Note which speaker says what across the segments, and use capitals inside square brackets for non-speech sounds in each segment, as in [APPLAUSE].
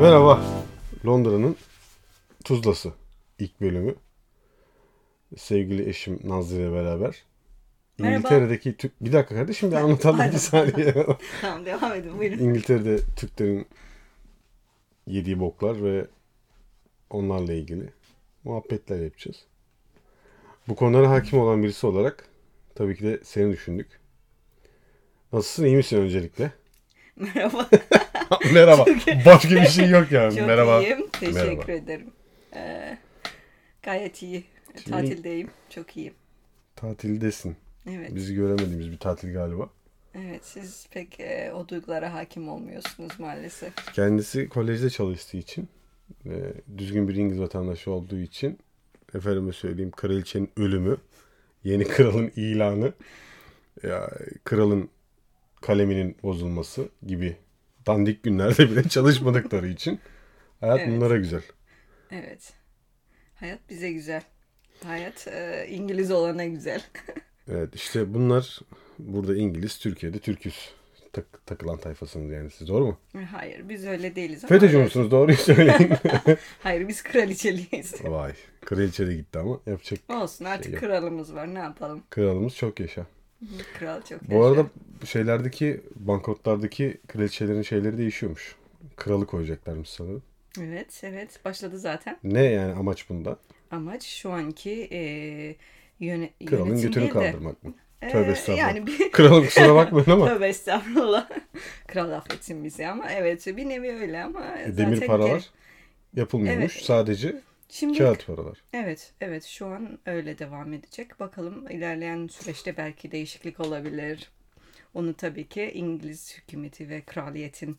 Speaker 1: Merhaba. Londra'nın Tuzlası ilk bölümü. Sevgili eşim Nazlı ile beraber.
Speaker 2: Merhaba.
Speaker 1: İngiltere'deki Türk... Bir dakika kardeşim bir anlatalım
Speaker 2: [LAUGHS] Pardon.
Speaker 1: bir saniye. [LAUGHS]
Speaker 2: Tamam devam edin buyurun.
Speaker 1: İngiltere'de Türklerin yediği boklar ve onlarla ilgili muhabbetler yapacağız. Bu konulara hakim olan birisi olarak tabii ki de seni düşündük. Nasılsın iyi misin
Speaker 2: [LAUGHS]
Speaker 1: öncelikle?
Speaker 2: Merhaba.
Speaker 1: Merhaba. Başka bir şey yok yani.
Speaker 2: Çok
Speaker 1: Merhaba.
Speaker 2: iyiyim. Teşekkür
Speaker 1: Merhaba.
Speaker 2: ederim. Ee, gayet iyi.
Speaker 1: Şimdi-
Speaker 2: Tatildeyim. Çok iyiyim.
Speaker 1: Tatildesin.
Speaker 2: Evet.
Speaker 1: Bizi göremediğimiz bir tatil galiba.
Speaker 2: Evet siz pek e, o duygulara hakim olmuyorsunuz maalesef.
Speaker 1: Kendisi kolejde çalıştığı için e, düzgün bir İngiliz vatandaşı olduğu için efendime söyleyeyim kraliçenin ölümü, yeni kralın ilanı, ya, kralın kaleminin bozulması gibi dandik günlerde bile [LAUGHS] çalışmadıkları için hayat
Speaker 2: Evet.
Speaker 1: bunlara güzel.
Speaker 2: Evet. Hayat bize güzel. Hayat e, İngiliz olana güzel. [LAUGHS]
Speaker 1: Evet işte bunlar burada İngiliz, Türkiye'de Türküz tak- takılan tayfasınız yani siz doğru mu?
Speaker 2: Hayır biz öyle değiliz ama.
Speaker 1: FETÖ'cü müsünüz doğruyu söyleyin. [LAUGHS]
Speaker 2: Hayır biz kraliçeliyiz.
Speaker 1: Vay kraliçe de gitti ama yapacak
Speaker 2: Olsun artık
Speaker 1: Şey yok.
Speaker 2: kralımız var ne yapalım.
Speaker 1: kralımız çok yaşa.
Speaker 2: Kral çok
Speaker 1: Bu
Speaker 2: yaşa.
Speaker 1: arada şeylerdeki banknotlardaki kraliçelerin şeyleri değişiyormuş. Kralı koyacaklarmış sanırım.
Speaker 2: Evet evet başladı zaten.
Speaker 1: Ne yani amaç bunda?
Speaker 2: Amaç şu anki e, yöne,
Speaker 1: Kralın
Speaker 2: yönetim
Speaker 1: götünü
Speaker 2: değil de-
Speaker 1: kaldırmak mı?
Speaker 2: Ee,
Speaker 1: Tövbe estağfurullah.
Speaker 2: Yani bir
Speaker 1: Kralım [LAUGHS] kusura bakmayın
Speaker 2: [LAUGHS]
Speaker 1: ama
Speaker 2: tövbe estağfurullah. [LAUGHS] Kral affetsin bizi ama evet bir nevi öyle ama zaten
Speaker 1: E, demir
Speaker 2: gere-
Speaker 1: paralar yapılmıyormuş.
Speaker 2: Evet.
Speaker 1: Sadece
Speaker 2: Şimdi
Speaker 1: kağıt paralar.
Speaker 2: evet evet şu an öyle devam edecek. Bakalım ilerleyen süreçte belki değişiklik olabilir. Onu tabii ki İngiliz hükümeti ve kraliyetin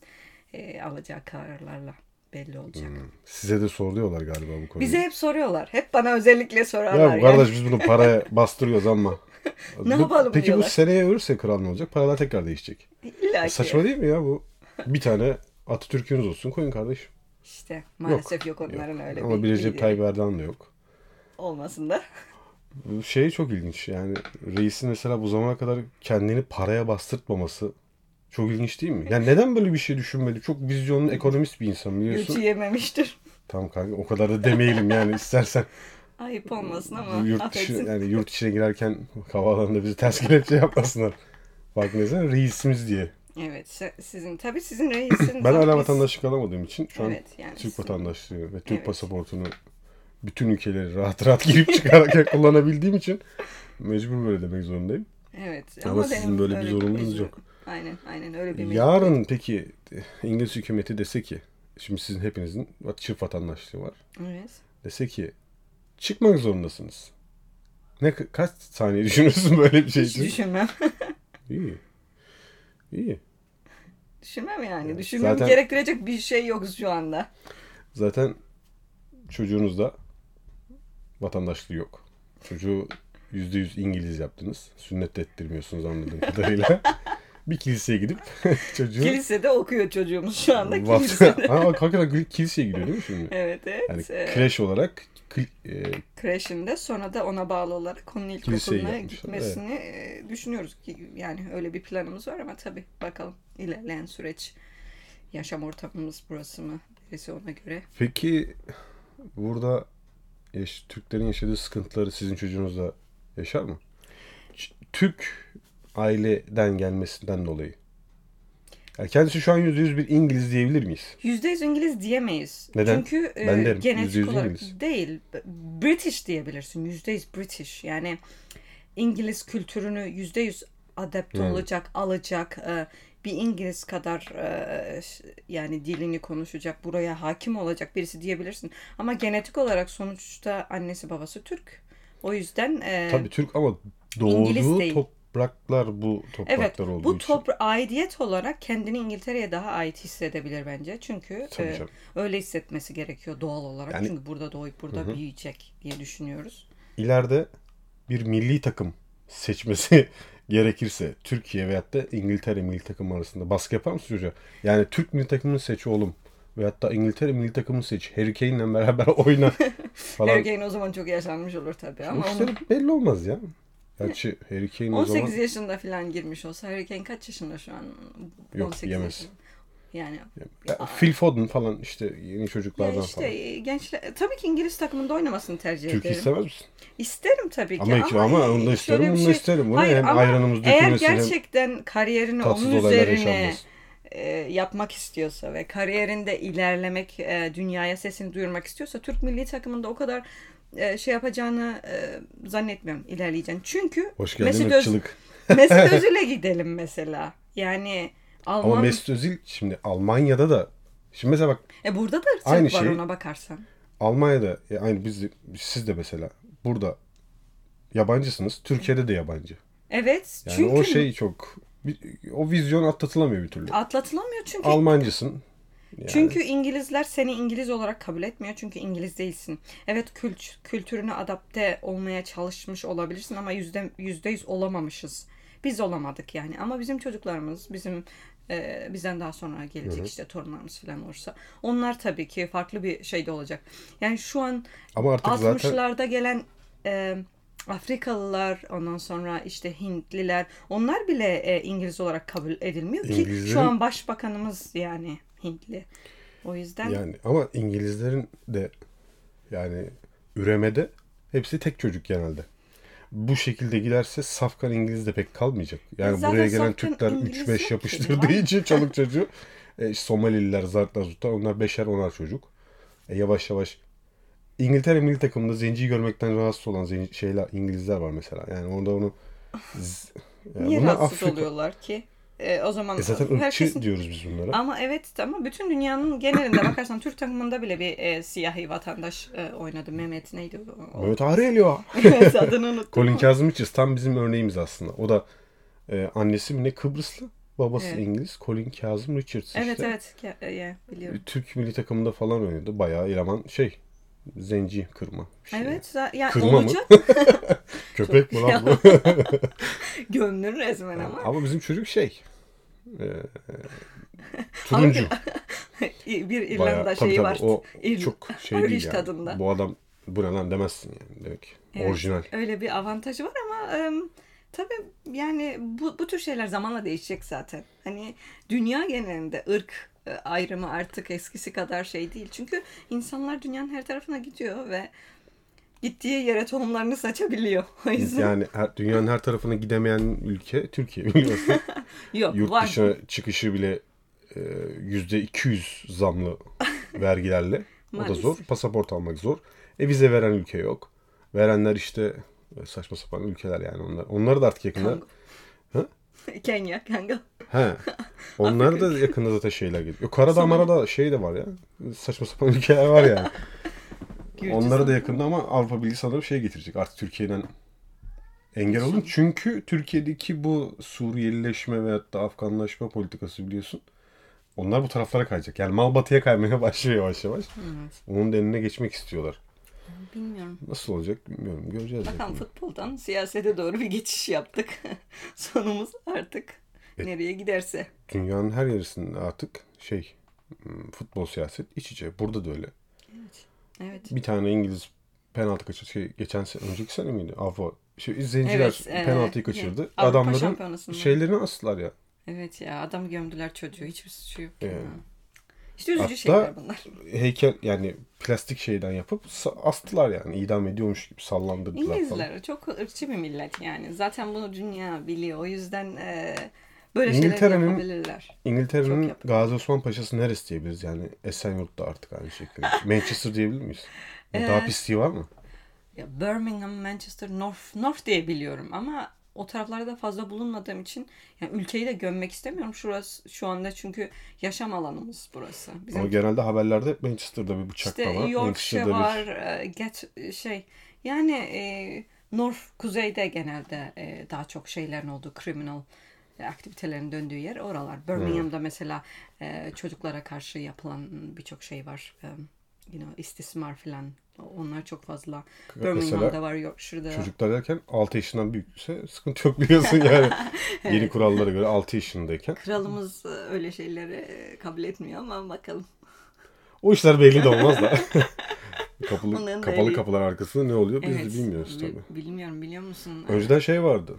Speaker 2: e, alacağı kararlarla belli olacak.
Speaker 1: Size de soruyorlar galiba Hmm, bu konuyu.
Speaker 2: Bize hep soruyorlar. Hep bana özellikle sorarlar.
Speaker 1: ya
Speaker 2: yani.
Speaker 1: kardeş biz bunu paraya bastırıyoruz ama.
Speaker 2: [LAUGHS] Ne yapalım
Speaker 1: Peki
Speaker 2: diyorlar.
Speaker 1: bu seneye ölürse kral ne olacak? Paralar tekrar değişecek.
Speaker 2: [LAUGHS] İlla ki.
Speaker 1: Saçma değil mi ya bu? Bir tane Atatürk'ünüz olsun koyun kardeşim.
Speaker 2: İşte maalesef yok, onların öyle
Speaker 1: Ama bir Recep Tayyip Erdoğan da yok.
Speaker 2: olmasında.
Speaker 1: Şey çok ilginç yani reisin mesela bu zamana kadar kendini paraya bastırtmaması çok ilginç değil mi? Yani neden böyle bir şey düşünmedi? Çok vizyonlu ekonomist bir insan
Speaker 2: Göçü
Speaker 1: biliyorsun.
Speaker 2: yememiştir.
Speaker 1: Tamam kanka o kadar da demeyelim yani
Speaker 2: [LAUGHS]
Speaker 1: istersen
Speaker 2: Ayıp olmasın ama
Speaker 1: yurt, dışı,
Speaker 2: Ah, affetsin.
Speaker 1: yani yurt içine girerken havaalanında bizi ters kelepçe yapmasınlar. Bak ne zaman reisimiz diye.
Speaker 2: Evet se- sizin tabii sizin reisiniz.
Speaker 1: [CLEARS THROAT] Ben
Speaker 2: ama
Speaker 1: hala
Speaker 2: biz-
Speaker 1: vatandaşlık alamadığım için şu an
Speaker 2: Evet, yani
Speaker 1: Türk
Speaker 2: sizin-
Speaker 1: vatandaşlığı ve Türk
Speaker 2: Evet.
Speaker 1: pasaportunu bütün ülkeleri rahat rahat girip çıkarken [LAUGHS] kullanabildiğim için mecbur böyle demek zorundayım.
Speaker 2: Evet.
Speaker 1: Ama sizin
Speaker 2: benim
Speaker 1: böyle bir
Speaker 2: öyle
Speaker 1: zorunluluğunuz
Speaker 2: mecbur-
Speaker 1: yok.
Speaker 2: Aynen aynen öyle bir mecbur-
Speaker 1: Yarın peki İngiliz hükümeti dese ki şimdi sizin hepinizin vat- çift vatandaşlığı var.
Speaker 2: Evet.
Speaker 1: Dese ki çıkmak zorundasınız. Ne ka- kaç saniye [LAUGHS] düşünürsün böyle bir şey
Speaker 2: Hiç
Speaker 1: için?
Speaker 2: düşünmem. [LAUGHS]
Speaker 1: İyi. İyi.
Speaker 2: düşünmem yani. Düşünmem
Speaker 1: zaten-
Speaker 2: gerektirecek bir şey yok şu anda.
Speaker 1: Zaten çocuğunuzda vatandaşlığı yok. Çocuğu yüzde yüz İngiliz yaptınız. Sünnet ettirmiyorsunuz
Speaker 2: [LAUGHS]
Speaker 1: anladığım kadarıyla. bir kiliseye gidip [LAUGHS] çocuğu...
Speaker 2: Kilisede okuyor çocuğumuz şu anda
Speaker 1: Vat- [LAUGHS]
Speaker 2: kilisede.
Speaker 1: ha, bak, hakikaten kiliseye gidiyor değil mi şimdi?
Speaker 2: evet evet.
Speaker 1: Yani
Speaker 2: Ee,
Speaker 1: kreş olarak kli- e,
Speaker 2: kreşinde sonra da ona bağlı olarak onun
Speaker 1: Kiliseyi
Speaker 2: ilkokuluna
Speaker 1: yapmışlar,
Speaker 2: gitmesini e, düşünüyoruz. ki Yani öyle bir planımız var ama tabii bakalım ilerleyen süreç yaşam ortamımız burası mı? Neyse ona göre.
Speaker 1: Peki burada yaş- Türklerin yaşadığı sıkıntıları sizin çocuğunuz da yaşar mı? Ç- Türk aileden gelmesinden dolayı. Yani kendisi şu an %100 bir İngiliz diyebilir miyiz?
Speaker 2: %100 İngiliz diyemeyiz.
Speaker 1: Neden?
Speaker 2: Çünkü e,
Speaker 1: Ben derim, %100
Speaker 2: genetik olarak
Speaker 1: İngiliz.
Speaker 2: değil. British diyebilirsin. %100 British. Yani İngiliz kültürünü %100 adapte
Speaker 1: Hmm.
Speaker 2: olacak, alacak. e, bir İngiliz kadar e, ş- yani dilini konuşacak, buraya hakim olacak birisi diyebilirsin. Ama genetik olarak sonuçta annesi babası Türk. O yüzden e,
Speaker 1: Tabii Türk ama
Speaker 2: İngiliz
Speaker 1: doğduğu
Speaker 2: değil.
Speaker 1: topraklar bu topraklar
Speaker 2: evet
Speaker 1: olduğu
Speaker 2: bu
Speaker 1: için.
Speaker 2: topra aidiyet olarak kendini İngiltere'ye daha ait hissedebilir bence. Çünkü
Speaker 1: Tabii
Speaker 2: e,
Speaker 1: canım.
Speaker 2: öyle hissetmesi gerekiyor doğal olarak.
Speaker 1: Yani-
Speaker 2: Çünkü burada doğup burada büyüyecek diye düşünüyoruz.
Speaker 1: İleride bir milli takım seçmesi [LAUGHS] gerekirse Türkiye veyahut da İngiltere milli takım arasında baskı yapar mısın çocuğa? Yani Türk milli takımını seç oğlum. Veyahut da İngiltere milli takımını seç. Harry Kane'le beraber [LAUGHS] oyna falan.
Speaker 2: Harry Kane o zaman çok yaşlanmış olur tabii ama
Speaker 1: Bu
Speaker 2: onun
Speaker 1: işler belli olmaz ya. Gerçi Harry Kane o
Speaker 2: 18
Speaker 1: zaman
Speaker 2: yaşında falan girmiş olsa Harry Kane kaç yaşında şu an?
Speaker 1: Yok, yemez.
Speaker 2: yaşında. Yani
Speaker 1: Ya, Phil Foden falan işte yeni çocuklardan
Speaker 2: ya işte
Speaker 1: falan.
Speaker 2: e, gençler tabii ki İngiliz takımında oynamasını tercih
Speaker 1: Türkiye
Speaker 2: ederim.
Speaker 1: istemez misin?
Speaker 2: İsterim tabii ki hani
Speaker 1: Ama iki- ama onu da
Speaker 2: şöyle
Speaker 1: isterim,
Speaker 2: bir şey-
Speaker 1: bunu da isterim. Bunu
Speaker 2: Hayır,
Speaker 1: hem
Speaker 2: ama
Speaker 1: ayranımız
Speaker 2: eğer
Speaker 1: dökülmesin, hem
Speaker 2: gerçekten kariyerini
Speaker 1: tatsız
Speaker 2: onun
Speaker 1: olaylar
Speaker 2: üzerine
Speaker 1: yaşanmasın.
Speaker 2: e, yapmak istiyorsa ve kariyerinde ilerlemek, e, dünyaya sesini duyurmak istiyorsa Türk milli takımında o kadar e, şey yapacağını e, zannetmiyorum ilerleyeceğini. Çünkü
Speaker 1: Hoş geldin
Speaker 2: Mesut, Öz-
Speaker 1: ırkçılık.
Speaker 2: [LAUGHS]
Speaker 1: [LAUGHS]
Speaker 2: Mesut Özil'e gidelim mesela. Yani Alman
Speaker 1: Ama Mesut Özil şimdi Almanya'da da şimdi mesela bak
Speaker 2: E, burada da ırkçılık
Speaker 1: Aynı
Speaker 2: var
Speaker 1: şey-
Speaker 2: ona bakarsan.
Speaker 1: Almanya'da e, aynı biz de- siz de mesela burada yabancısınız. Türkiye'de de yabancı.
Speaker 2: Evet.
Speaker 1: Yani
Speaker 2: çünkü
Speaker 1: o şey çok bir- o vizyon atlatılamıyor bir türlü.
Speaker 2: atlatılamıyor çünkü
Speaker 1: Almancısın. Yani
Speaker 2: Çünkü İngilizler seni İngiliz olarak kabul etmiyor çünkü İngiliz değilsin. Evet kült kültürüne adapte olmaya çalışmış olabilirsin ama yüzde yüzde yüz olamamışız. Biz olamadık yani ama bizim çocuklarımız bizim e, bizden daha sonra gelecek işte torunlarımız falan olursa onlar tabii ki farklı bir şeyde olacak. Yani şu an
Speaker 1: ama artık zaten
Speaker 2: 60'larda gelen e, Afrikalılar, ondan sonra işte Hintliler, onlar bile e, İngiliz olarak kabul edilmiyor ki
Speaker 1: İngilizlerin-
Speaker 2: şu an başbakanımız yani Hintli. O yüzden
Speaker 1: yani ama İngilizlerin de yani üremede hepsi tek çocuk genelde. Bu şekilde giderse safkan İngiliz de pek kalmayacak. Yani
Speaker 2: Zaten
Speaker 1: buraya gelen
Speaker 2: safkan
Speaker 1: Türkler
Speaker 2: İngiliz yok ki,
Speaker 1: 3-5
Speaker 2: var.
Speaker 1: yapıştırdığı
Speaker 2: [LAUGHS]
Speaker 1: için çoluk çocuğu. E, işte Somalililer, Zartlar, Zurtlar onlar 5'er 10'ar çocuk. E, yavaş yavaş İngiltere milli takımında zenciyi görmekten rahatsız olan zenci, şeyler İngilizler var mesela. Yani orada onu z- yani
Speaker 2: niye
Speaker 1: bunlar
Speaker 2: rahatsız
Speaker 1: Afrika-
Speaker 2: oluyorlar ki? E, o zaman
Speaker 1: E zaten ırkçı
Speaker 2: herkesin...
Speaker 1: diyoruz biz bunlara.
Speaker 2: Ama evet ama bütün dünyanın genelinde bakarsan Türk takımında bile bir e, siyahi vatandaş e, oynadı. Mehmet neydi? O,
Speaker 1: [LAUGHS]
Speaker 2: o-
Speaker 1: Mehmet Arelio.
Speaker 2: Evet, adını unuttum.
Speaker 1: Colin
Speaker 2: ama.
Speaker 1: Kazımçız tam bizim örneğimiz aslında. O da e, annesi mi ne Kıbrıslı, babası
Speaker 2: Evet.
Speaker 1: İngiliz. Colin Kazım Richards
Speaker 2: Evet
Speaker 1: işte.
Speaker 2: evet Ke- e, yeah, biliyorum.
Speaker 1: Türk milli takımında falan oynadı. Bayağı eleman şey zenci kırma. bir şey.
Speaker 2: Evet za- yani
Speaker 1: Kırma mı?
Speaker 2: olacak
Speaker 1: Köpek mi lan
Speaker 2: [LAUGHS]
Speaker 1: bu?
Speaker 2: gömdün resmen ama.
Speaker 1: [LAUGHS] Ama bizim çocuk şey.
Speaker 2: [LAUGHS]
Speaker 1: E, e, turuncu.
Speaker 2: bir İrlanda
Speaker 1: Bayağı, tabii
Speaker 2: şeyi
Speaker 1: tabii
Speaker 2: var. [LAUGHS]
Speaker 1: o
Speaker 2: İr-
Speaker 1: çok şey
Speaker 2: Irish
Speaker 1: değil yani.
Speaker 2: tadında.
Speaker 1: Bu adam bu ne lan demezsin yani. Demek ki.
Speaker 2: Evet,
Speaker 1: orijinal.
Speaker 2: Öyle bir avantajı var ama em, tabii yani bu, bu tür şeyler zamanla değişecek zaten. Hani dünya genelinde ırk e, ayrımı artık eskisi kadar şey değil. Çünkü insanlar dünyanın her tarafına gidiyor ve gittiği yere tohumlarını saçabiliyor. [LAUGHS] O yüzden
Speaker 1: Yani her, dünyanın her tarafına gidemeyen ülke Türkiye biliyorsun.
Speaker 2: [LAUGHS] yok
Speaker 1: Yurt
Speaker 2: var.
Speaker 1: dışına çıkışı bile e, %200
Speaker 2: [LAUGHS]
Speaker 1: zamlı vergilerle. o da
Speaker 2: Maalesef.
Speaker 1: zor. Pasaport almak zor. E vize veren ülke yok. Verenler işte e, saçma sapan ülkeler yani onlar. Onları da artık yakında.
Speaker 2: Kango. [LAUGHS] Kenya, Kango. [LAUGHS]
Speaker 1: He. Onlar da yakında zaten şeyler geliyor. Karadağ
Speaker 2: Somali.
Speaker 1: Marada şey de var ya. Saçma sapan ülkeler var yani.
Speaker 2: Gürcistan.
Speaker 1: Onlara da yakında ama Avrupa Birliği sanırım şey getirecek. Artık Türkiye'den engel olun. Çünkü Türkiye'deki bu Suriyelileşme veyahut da Afganlaşma politikası biliyorsun. Onlar bu taraflara kayacak. Yani mal batıya kaymaya [LAUGHS] başlıyor yavaş yavaş.
Speaker 2: Evet,
Speaker 1: Onun da eline geçmek istiyorlar.
Speaker 2: bilmiyorum.
Speaker 1: Nasıl olacak bilmiyorum. Göreceğiz.
Speaker 2: Bakalım
Speaker 1: yakında.
Speaker 2: futboldan siyasete doğru bir geçiş yaptık. [LAUGHS] Sonumuz artık
Speaker 1: Evet.
Speaker 2: nereye giderse.
Speaker 1: Dünyanın her yerisinde artık şey hmm, futbol siyaset iç içe. Burada da öyle.
Speaker 2: Evet.
Speaker 1: Bir tane İngiliz penaltı kaçırdı. Şey, geçen sene, önceki sene miydi? Avrupa. Şey, zenciler
Speaker 2: Evet, e,
Speaker 1: penaltıyı
Speaker 2: e,
Speaker 1: kaçırdı.
Speaker 2: Avrupa
Speaker 1: Adamların
Speaker 2: Şampiyonası'nda.
Speaker 1: şeylerini astılar ya.
Speaker 2: Evet ya adam gömdüler çocuğu. Hiçbir suçu yok. ya.
Speaker 1: Yani.
Speaker 2: İşte üzücü
Speaker 1: Hatta-
Speaker 2: şeyler bunlar.
Speaker 1: heykel yani plastik şeyden yapıp sa- astılar yani idam ediyormuş gibi sallandırdılar falan.
Speaker 2: İngilizler çok ırkçı bir millet yani. Zaten bunu dünya biliyor. O yüzden e, böyle şeyler
Speaker 1: İngiltere'nin-
Speaker 2: yapabilirler. Çok
Speaker 1: İngiltere'nin
Speaker 2: yaptı.
Speaker 1: Gazi Osman Paşa'sı neresi diyebiliriz yani Esenyurt'ta artık aynı
Speaker 2: [LAUGHS]
Speaker 1: şekilde. Manchester diyebilir miyiz? Ya Daha
Speaker 2: Ee,
Speaker 1: pisliği var mı?
Speaker 2: Ya Birmingham, Manchester, North, North diye biliyorum ama o taraflarda fazla bulunmadığım için yani ülkeyi de gömmek istemiyorum şurası şu anda çünkü yaşam alanımız burası. Bizim
Speaker 1: Ama genelde haberlerde hep Manchester'da bir bıçaklama,
Speaker 2: İşte Yorkshire
Speaker 1: Manchester'da bir
Speaker 2: var, e, Get şey yani e, North kuzeyde genelde e, daha çok şeylerin olduğu criminal e, aktivitelerin döndüğü yer oralar. Birmingham'da mesela e, çocuklara karşı yapılan birçok şey var. E, you know, istismar filan. Onlar çok fazla.
Speaker 1: Mesela
Speaker 2: Birmingham'da var, Yorkshire'da.
Speaker 1: çocuklar derken 6 yaşından büyükse sıkıntı yok biliyorsun
Speaker 2: [LAUGHS]
Speaker 1: yani. Yeni kurallara göre 6 yaşındayken.
Speaker 2: Kralımız e, öyle şeyleri e, kabul etmiyor ama bakalım.
Speaker 1: O işler belli de olmaz
Speaker 2: [LAUGHS]
Speaker 1: da. Kapılı-
Speaker 2: Onların da
Speaker 1: kapalı
Speaker 2: öyle-
Speaker 1: kapılar arkasında ne oluyor biz
Speaker 2: Evet,
Speaker 1: de bilmiyoruz
Speaker 2: bi-
Speaker 1: tabii.
Speaker 2: Bilmiyorum biliyor musun?
Speaker 1: Önceden şey vardı.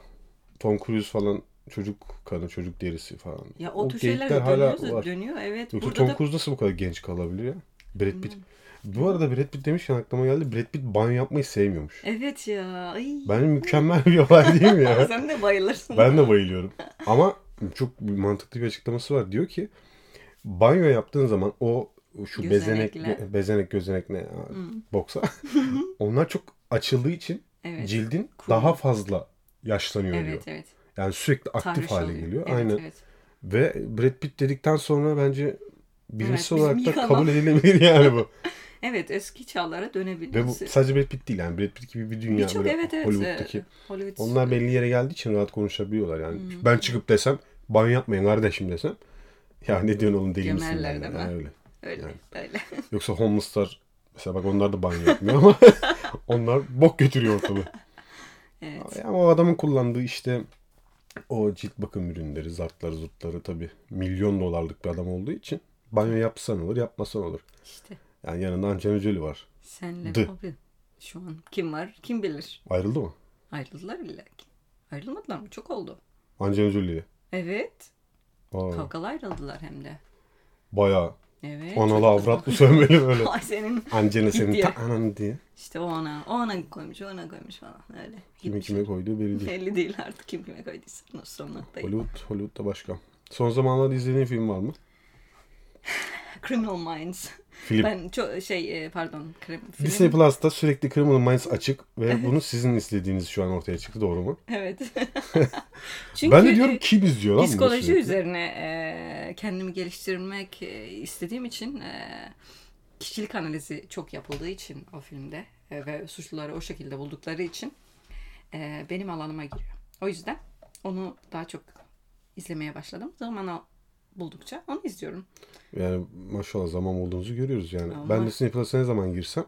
Speaker 1: Tom Cruise falan çocuk kanı, çocuk derisi falan.
Speaker 2: Ya o, tür
Speaker 1: geyikler
Speaker 2: şeyler dönüyor, dönüyor. Evet
Speaker 1: Yoksa
Speaker 2: burada
Speaker 1: Tom
Speaker 2: da Hmm.
Speaker 1: Cruise nasıl bu kadar genç kalabilir ya? Brad Pitt. Bu arada Brad Pitt demişken aklıma geldi. Brad Pitt banyo yapmayı sevmiyormuş.
Speaker 2: evet ya. Ay.
Speaker 1: Ben mükemmel bir olay değil
Speaker 2: [LAUGHS]
Speaker 1: mi ya?
Speaker 2: Sen de bayılırsın.
Speaker 1: Ben de bayılıyorum. Ama çok mantıklı bir açıklaması var. Diyor ki banyo yaptığın zaman o şu bezenek
Speaker 2: Gözenekler.
Speaker 1: bezenek gözenek ne ya,
Speaker 2: Hmm.
Speaker 1: boksa
Speaker 2: [LAUGHS]
Speaker 1: onlar çok açıldığı için
Speaker 2: Evet.
Speaker 1: cildin
Speaker 2: Cool.
Speaker 1: daha fazla yaşlanıyor diyor.
Speaker 2: Evet evet.
Speaker 1: Yani sürekli aktif
Speaker 2: Tahriş
Speaker 1: hale
Speaker 2: oluyor.
Speaker 1: geliyor.
Speaker 2: Evet,
Speaker 1: Aynen.
Speaker 2: Evet.
Speaker 1: Ve Brad Pitt dedikten sonra bence birincisi
Speaker 2: bizim
Speaker 1: olarak da
Speaker 2: yıkamam.
Speaker 1: kabul edilebilir [LAUGHS] yani bu.
Speaker 2: evet eski çağlara
Speaker 1: Ve bu
Speaker 2: dönebiliriz.
Speaker 1: sadece Brad Pitt değil yani Brad Pitt gibi bir dünya
Speaker 2: Birçok
Speaker 1: böyle
Speaker 2: evet evet. Hmm.
Speaker 1: Hollywood'daki.
Speaker 2: e, Hollywood.
Speaker 1: Onlar belli yere geldiği için rahat konuşabiliyorlar yani. Ben çıkıp desem banyo yapmayın kardeşim desem ya ne diyorsun oğlum deli misin?
Speaker 2: Gömerler
Speaker 1: yani?
Speaker 2: değil mi?
Speaker 1: Ha, öyle.
Speaker 2: Öyle
Speaker 1: yani.
Speaker 2: öyle.
Speaker 1: Yoksa homeless'lar mesela bak onlar da banyo
Speaker 2: [LAUGHS]
Speaker 1: yapmıyor ama [LAUGHS] onlar bok götürüyor ortalığı.
Speaker 2: Evet.
Speaker 1: Ama o adamın kullandığı işte o cilt bakım ürünleri, zartları, zurtları tabii milyon dolarlık bir adam olduğu için banyo yapsan olur, yapmasan olur.
Speaker 2: İşte
Speaker 1: Yani yanında Angelina Jolie var.
Speaker 2: senle
Speaker 1: Dı.
Speaker 2: abi şu an kim var kim bilir.
Speaker 1: Ayrıldı mı?
Speaker 2: Ayrıldılar illa ki. Ayrılmadılar mı? Çok oldu.
Speaker 1: Angelina Jolie'ye.
Speaker 2: Evet.
Speaker 1: Aa,
Speaker 2: Kavgalı ayrıldılar hem de.
Speaker 1: Bayağı
Speaker 2: Evet.
Speaker 1: analı avratlı
Speaker 2: [LAUGHS]
Speaker 1: sövmeli böyle.
Speaker 2: Ay senin
Speaker 1: Angelina senin
Speaker 2: diye.
Speaker 1: ta ananı diye.
Speaker 2: işte o ona, o ona koymuş, o ona koymuş falan öyle.
Speaker 1: Kimi
Speaker 2: Gitmiş.
Speaker 1: kime koyduğu belli değil.
Speaker 2: Belli değil artık kim kime koyduysa. Nostrum noktayı.
Speaker 1: Hollywood, Hollywood da başka. Son zamanlarda izlediğin film var mı?
Speaker 2: Criminal Minds.
Speaker 1: Film.
Speaker 2: Ben çok şey e, pardon. Krim, film.
Speaker 1: Disney Plus'ta sürekli Criminal Minds açık ve bunu sizin istediğiniz şu an ortaya çıktı doğru mu?
Speaker 2: [LAUGHS]
Speaker 1: [LAUGHS]
Speaker 2: Evet.
Speaker 1: ben de diyorum
Speaker 2: e,
Speaker 1: kim izliyor lan bunu
Speaker 2: psikoloji
Speaker 1: sürekli?
Speaker 2: üzerine e, kendimi geliştirmek e, istediğim için e, kişilik analizi çok yapıldığı için o filmde e, ve suçluları o şekilde buldukları için e, benim alanıma giriyor. O yüzden onu daha çok izlemeye başladım. Zaman al- buldukça onu izliyorum.
Speaker 1: Yani maşallah zaman olduğunuzu görüyoruz yani.
Speaker 2: Ama-
Speaker 1: Ben Disney Plus'a ne zaman girsem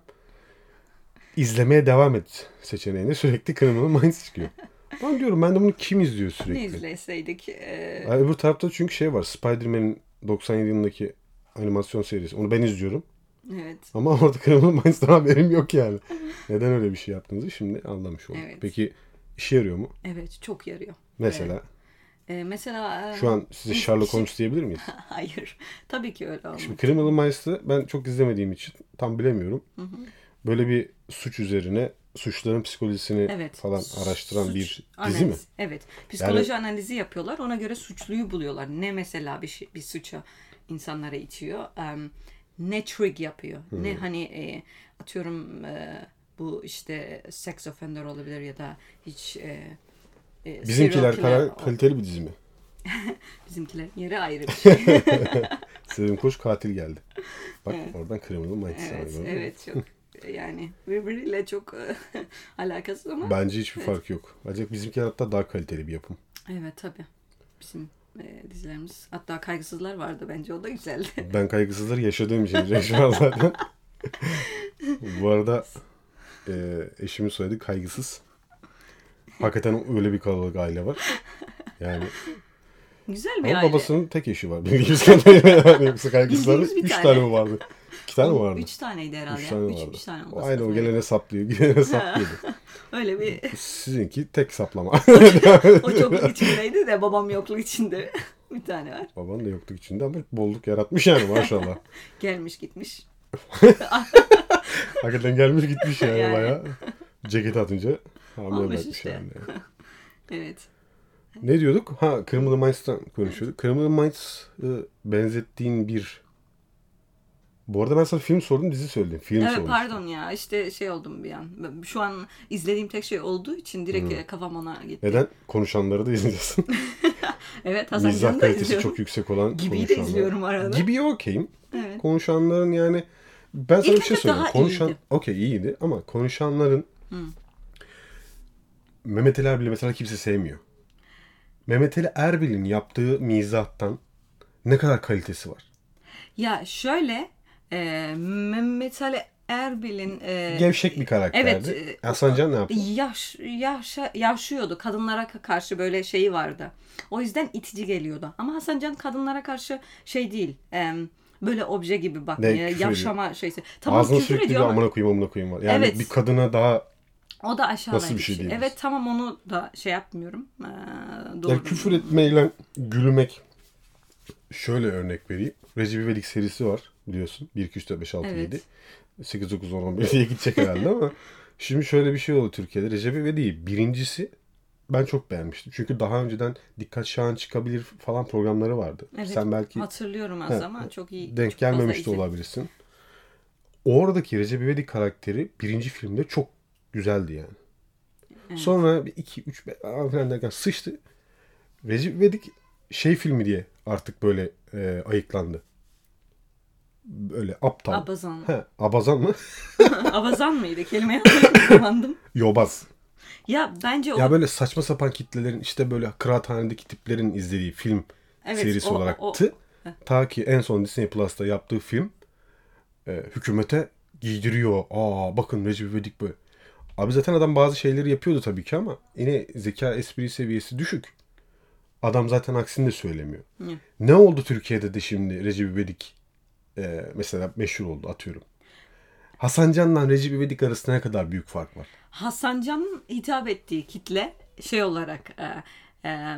Speaker 1: izlemeye devam et seçeneğinde [LAUGHS] sürekli Criminal Minds çıkıyor. Ben diyorum ben de bunu kim izliyor sürekli?
Speaker 2: Ne izleseydik e,
Speaker 1: Ay, öbür tarafta çünkü şey var Spider-Man'in 97 yılındaki animasyon serisi. Onu ben izliyorum.
Speaker 2: evet.
Speaker 1: Ama [LAUGHS] orada Criminal Minds'dan haberim yok
Speaker 2: [LAUGHS]
Speaker 1: yani. Neden öyle bir şey yaptığınızı şimdi anlamış oldum.
Speaker 2: Evet.
Speaker 1: Peki işe yarıyor mu?
Speaker 2: Evet çok yarıyor.
Speaker 1: Mesela
Speaker 2: E, mesela e,
Speaker 1: şu an size
Speaker 2: hiç-
Speaker 1: Sherlock Holmes diyebilir miyiz?
Speaker 2: [LAUGHS] Hayır. Tabii ki öyle olmaz.
Speaker 1: Şimdi Criminal Minds'ı ben çok izlemediğim için tam bilemiyorum. Böyle bir suç üzerine suçların psikolojisini
Speaker 2: Evet.
Speaker 1: falan araştıran
Speaker 2: Suç
Speaker 1: bir
Speaker 2: analiz.
Speaker 1: dizi mi?
Speaker 2: Evet. Psikoloji analizi yapıyorlar. Ona göre suçluyu buluyorlar. Ne mesela bir şey, bir suça insanlara itiyor. em, ne trig yapıyor. Ne
Speaker 1: Hmm.
Speaker 2: hani e, atıyorum e, bu işte sex offender olabilir ya da hiç e, e, serial
Speaker 1: Bizimkiler
Speaker 2: killer
Speaker 1: kadar kaliteli bir dizi mi?
Speaker 2: bizimkiler yeri
Speaker 1: [LAUGHS]
Speaker 2: ayrı bir şey.
Speaker 1: Sevim Koç katil
Speaker 2: [LAUGHS]
Speaker 1: geldi. Bak oradan Criminal Minds sana
Speaker 2: evet,
Speaker 1: gördün mü?
Speaker 2: evet çok yani birbiriyle çok e, [LAUGHS] alakasız ama
Speaker 1: Bence hiçbir fark yok. Bence bizimkiler hatta daha kaliteli bir
Speaker 2: [LAUGHS]
Speaker 1: yapım.
Speaker 2: evet tabii. Bizim e, dizilerimiz hatta kaygısızlar vardı bence o da güzeldi.
Speaker 1: Ben kaygısızları yaşadığım için [LAUGHS] direkt şu an zaten. Bu arada e, eşimin soyadı kaygısız. Hakikaten öyle bir kalabalık aile var. Yani
Speaker 2: Güzel bir
Speaker 1: ama
Speaker 2: aile.
Speaker 1: babasının tek eşi var [LAUGHS] bildiğimiz kadarıyla. Yani hani yoksa kaygısızların
Speaker 2: Bildiğimiz bir
Speaker 1: 3
Speaker 2: tane.
Speaker 1: tane. mi vardı? 2 tane mi vardı?
Speaker 2: Üç taneydi herhalde.
Speaker 1: 3
Speaker 2: ya.
Speaker 1: tane
Speaker 2: üç,
Speaker 1: vardı.
Speaker 2: üç tane
Speaker 1: o
Speaker 2: olması
Speaker 1: aynı o
Speaker 2: lazım.
Speaker 1: gelene saplıyor, [LAUGHS] gidene saplıyordu. [LAUGHS]
Speaker 2: Öyle bir
Speaker 1: Sizinki tek saplama. [LAUGHS]
Speaker 2: o çokluk içindeydi de babam yokluk içinde. [LAUGHS] bir tane var.
Speaker 1: Baban da yokluk içinde ama bolluk yaratmış yani
Speaker 2: [LAUGHS]
Speaker 1: maşallah.
Speaker 2: Gelmiş gitmiş.
Speaker 1: Hakikaten gelmiş gitmiş yani,
Speaker 2: Yani.
Speaker 1: bayağı. Ceket atınca hamile
Speaker 2: Olmuş
Speaker 1: bırakmış
Speaker 2: işte.
Speaker 1: yani.
Speaker 2: Evet.
Speaker 1: Ne diyorduk? Ha Criminal Minds'tan konuşuyorduk. Criminal Minds'ı benzettiğin bir... Bu arada ben sana film sordum, dizi söyledim. Film
Speaker 2: Evet
Speaker 1: sormuştum.
Speaker 2: pardon ya işte şey oldum bir an. Ben- Şu an izlediğim tek şey olduğu için direkt
Speaker 1: Hmm.
Speaker 2: e, kafam ona gitti.
Speaker 1: Neden? Konuşanları da izleyeceğiz. [LAUGHS]
Speaker 2: Evet Hasan
Speaker 1: Mizah
Speaker 2: Can'ı da
Speaker 1: kalitesi
Speaker 2: izliyorum.
Speaker 1: çok yüksek olan
Speaker 2: Gibi'yi de
Speaker 1: konuşanlar.
Speaker 2: izliyorum arada.
Speaker 1: Gibi'ye okeyim.
Speaker 2: Evet.
Speaker 1: Konuşanların yani... Ben sana bir şey
Speaker 2: etap
Speaker 1: söyleyeyim.
Speaker 2: daha
Speaker 1: Konuşan...
Speaker 2: iyiydi.
Speaker 1: Okey iyiydi ama konuşanların... Mehmet Ali Erbil'i mesela kimse sevmiyor. Mehmet Ali Erbil'in yaptığı mizahtan ne kadar kalitesi var?
Speaker 2: Ya şöyle e, Mehmet Ali Erbil'in e,
Speaker 1: Gevşek bir karakterdi.
Speaker 2: Evet, e,
Speaker 1: Hasan Can ne yaptı?
Speaker 2: yaş yaşa, yaşıyordu. Kadınlara ka- karşı böyle şeyi vardı. O yüzden itici geliyordu. Ama Hasan Can kadınlara karşı şey değil. em, böyle obje gibi bakmıyor.
Speaker 1: küfür ediyor.
Speaker 2: Yavşama şeysi. Tamam
Speaker 1: Ağzına
Speaker 2: küfür
Speaker 1: sürekli bir
Speaker 2: ediyor ama
Speaker 1: amına koyayım amına koyayım var. Yani
Speaker 2: Evet.
Speaker 1: bir kadına daha
Speaker 2: O da aşağılayıcı.
Speaker 1: Nasıl bir şey diyebiliriz?
Speaker 2: Evet tamam onu da şey yapmıyorum. Ee, doğru.
Speaker 1: Ya küfür etmeyle gülmek şöyle örnek vereyim. Recep İvedik serisi var biliyorsun. 1, 2, 3, 4, 5, 6,
Speaker 2: Evet.
Speaker 1: 7. 8, 9, 10, 11 diye gidecek herhalde
Speaker 2: [LAUGHS]
Speaker 1: ama şimdi şöyle bir şey oldu Türkiye'de. Recep İvedik'i birincisi ben çok beğenmiştim. Çünkü daha önceden Dikkat Şahan çıkabilir falan programları vardı.
Speaker 2: Evet,
Speaker 1: Sen belki
Speaker 2: Hatırlıyorum az
Speaker 1: He,
Speaker 2: ama çok iyi.
Speaker 1: denk
Speaker 2: çok fazla
Speaker 1: gelmemiş de
Speaker 2: izledim.
Speaker 1: olabilirsin. Oradaki Recep İvedik karakteri birinci filmde çok güzeldi yani.
Speaker 2: Evet.
Speaker 1: Sonra 2 3 falan derken sıçtı. Recep İvedik şey filmi diye artık böyle e, ayıklandı. Böyle aptal.
Speaker 2: Abazan. [LAUGHS]
Speaker 1: He, abazan mı? [LAUGHS]
Speaker 2: Abazan mıydı? Kelimeyi hatırlamadım.
Speaker 1: Yobaz.
Speaker 2: Ya bence o
Speaker 1: Ya böyle saçma sapan kitlelerin işte böyle kıraathanedeki tiplerin izlediği film
Speaker 2: Evet,
Speaker 1: serisi
Speaker 2: o- o-
Speaker 1: olaraktı.
Speaker 2: o-
Speaker 1: Ta ki en son Disney Plus'ta yaptığı film e, hükümete giydiriyor. Aa bakın Recep İvedik böyle. Abi zaten adam bazı şeyleri yapıyordu tabii ki ama yine zeka espri seviyesi düşük. Adam zaten aksini de söylemiyor.
Speaker 2: Hı.
Speaker 1: Ne oldu Türkiye'de de şimdi Recep İvedik e, mesela meşhur oldu atıyorum. Hasan Can'la Recep İvedik arasında ne kadar büyük fark var.
Speaker 2: Hasan Can'ın hitap ettiği kitle şey olarak e, e,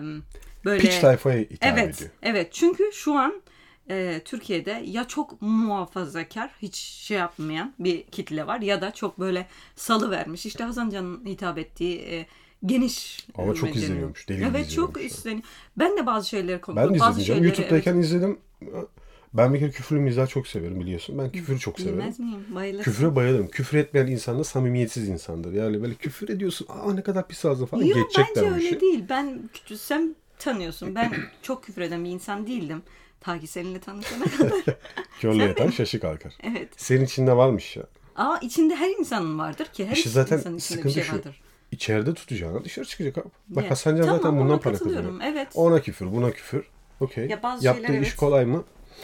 Speaker 2: böyle
Speaker 1: Piç tayfaya hitap
Speaker 2: Evet,
Speaker 1: ediyor.
Speaker 2: evet. Çünkü şu an e, Türkiye'de ya çok muhafazakar, hiç şey yapmayan bir kitle var ya da çok böyle salı vermiş. İşte Hasan Can'ın hitap ettiği e, geniş
Speaker 1: Ama çok
Speaker 2: medeni-
Speaker 1: izleniyormuş, deli gibi
Speaker 2: Evet, çok
Speaker 1: izleniyormuş.
Speaker 2: izleniyor. Ben de bazı şeyleri
Speaker 1: Ben
Speaker 2: konuşuyorum.
Speaker 1: de
Speaker 2: bazı
Speaker 1: izledim canım.
Speaker 2: şeyleri,
Speaker 1: YouTube'dayken izledim. Ben bir kere küfürlü mizahı çok severim biliyorsun. Ben küfürü çok
Speaker 2: evet,
Speaker 1: severim.
Speaker 2: bilmez miyim? Bayılırsın.
Speaker 1: Küfüre bayılırım. Küfür etmeyen insan da samimiyetsiz insandır. Yani böyle küfür ediyorsun. Aa ne kadar pis ağzı falan.
Speaker 2: Yok bence
Speaker 1: Geçecekler bu
Speaker 2: öyle
Speaker 1: işi.
Speaker 2: değil. Ben küçü- sen tanıyorsun. Ben çok küfür eden bir insan değildim. Ta ki seninle tanışana
Speaker 1: [LAUGHS]
Speaker 2: kadar.
Speaker 1: Körle yatan şaşı kalkar.
Speaker 2: evet.
Speaker 1: Senin içinde varmış ya.
Speaker 2: Ama içinde her insanın vardır ki. Her
Speaker 1: İşte zaten
Speaker 2: insanın içinde bir
Speaker 1: sıkıntı
Speaker 2: şey
Speaker 1: şu.
Speaker 2: vardır.
Speaker 1: İçeride tutacağına dışarı çıkacak abi. Bak
Speaker 2: Evet.
Speaker 1: Hasan Can
Speaker 2: Tamam,
Speaker 1: zaten
Speaker 2: ona
Speaker 1: bundan para
Speaker 2: katılıyorum.
Speaker 1: kazanıyor.
Speaker 2: Evet.
Speaker 1: Ona küfür, buna küfür. Okey.
Speaker 2: Ya bazı
Speaker 1: Yaptığı
Speaker 2: şeyler
Speaker 1: iş
Speaker 2: evet.
Speaker 1: kolay mı?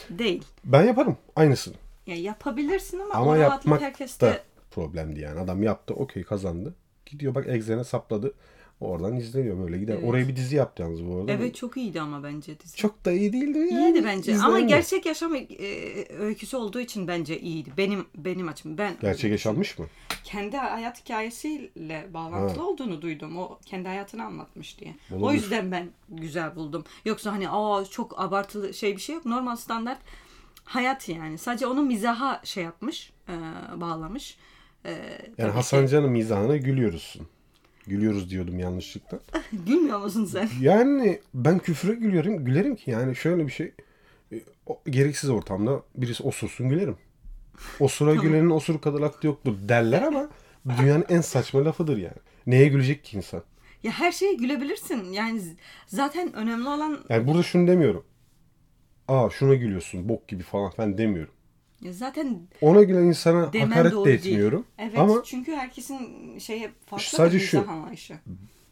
Speaker 2: Değil.
Speaker 1: Ben yaparım. Aynısını.
Speaker 2: Ya yapabilirsin ama,
Speaker 1: Ama
Speaker 2: o rahatlık
Speaker 1: yapmak
Speaker 2: herkeste
Speaker 1: da problemdi yani. Adam yaptı, okey kazandı. Gidiyor bak egzene sapladı. Oradan izleniyor böyle gider.
Speaker 2: Evet.
Speaker 1: Oraya bir dizi yaptı yalnız bu arada.
Speaker 2: Evet çok iyiydi ama bence dizi.
Speaker 1: Çok da iyi değildi yani.
Speaker 2: İyiydi bence ama
Speaker 1: İzlenmiyor.
Speaker 2: gerçek yaşam e, öyküsü olduğu için bence iyiydi. Benim benim açım ben
Speaker 1: Gerçek yaşanmış mı?
Speaker 2: kendi hayat hikayesiyle bağlantılı
Speaker 1: Ha.
Speaker 2: olduğunu duydum. O kendi hayatını anlatmış diye. O
Speaker 1: Olabilir.
Speaker 2: yüzden ben güzel buldum. Yoksa hani aa çok abartılı şey bir şey yok. Normal standart hayat yani. Sadece onu mizaha şey yapmış, e, bağlamış. E, tabii
Speaker 1: Yani
Speaker 2: ki-
Speaker 1: Hasan Can'ın mizahına gülüyoruz. Gülüyoruz diyordum yanlışlıkla.
Speaker 2: [LAUGHS] Gülmüyor musun sen?
Speaker 1: Yani ben küfüre gülüyorum. Gülerim ki yani şöyle bir şey. e, o- Gereksiz ortamda birisi osursun gülerim. Osura gülenin osur kadar aklı yoktur derler ama dünyanın en saçma lafıdır yani. Neye gülecek ki insan?
Speaker 2: Ya her şeye gülebilirsin. Yani z- zaten önemli olan
Speaker 1: Yani burada şunu demiyorum. Aa şuna gülüyorsun bok gibi falan falan demiyorum.
Speaker 2: ya zaten
Speaker 1: Ona gülen insana
Speaker 2: demen
Speaker 1: hakaret
Speaker 2: doğru
Speaker 1: de
Speaker 2: değil.
Speaker 1: etmiyorum.
Speaker 2: Evet
Speaker 1: Ama
Speaker 2: çünkü herkesin şeye farklı
Speaker 1: Sadece
Speaker 2: bir
Speaker 1: şu.
Speaker 2: mizah anlayışı.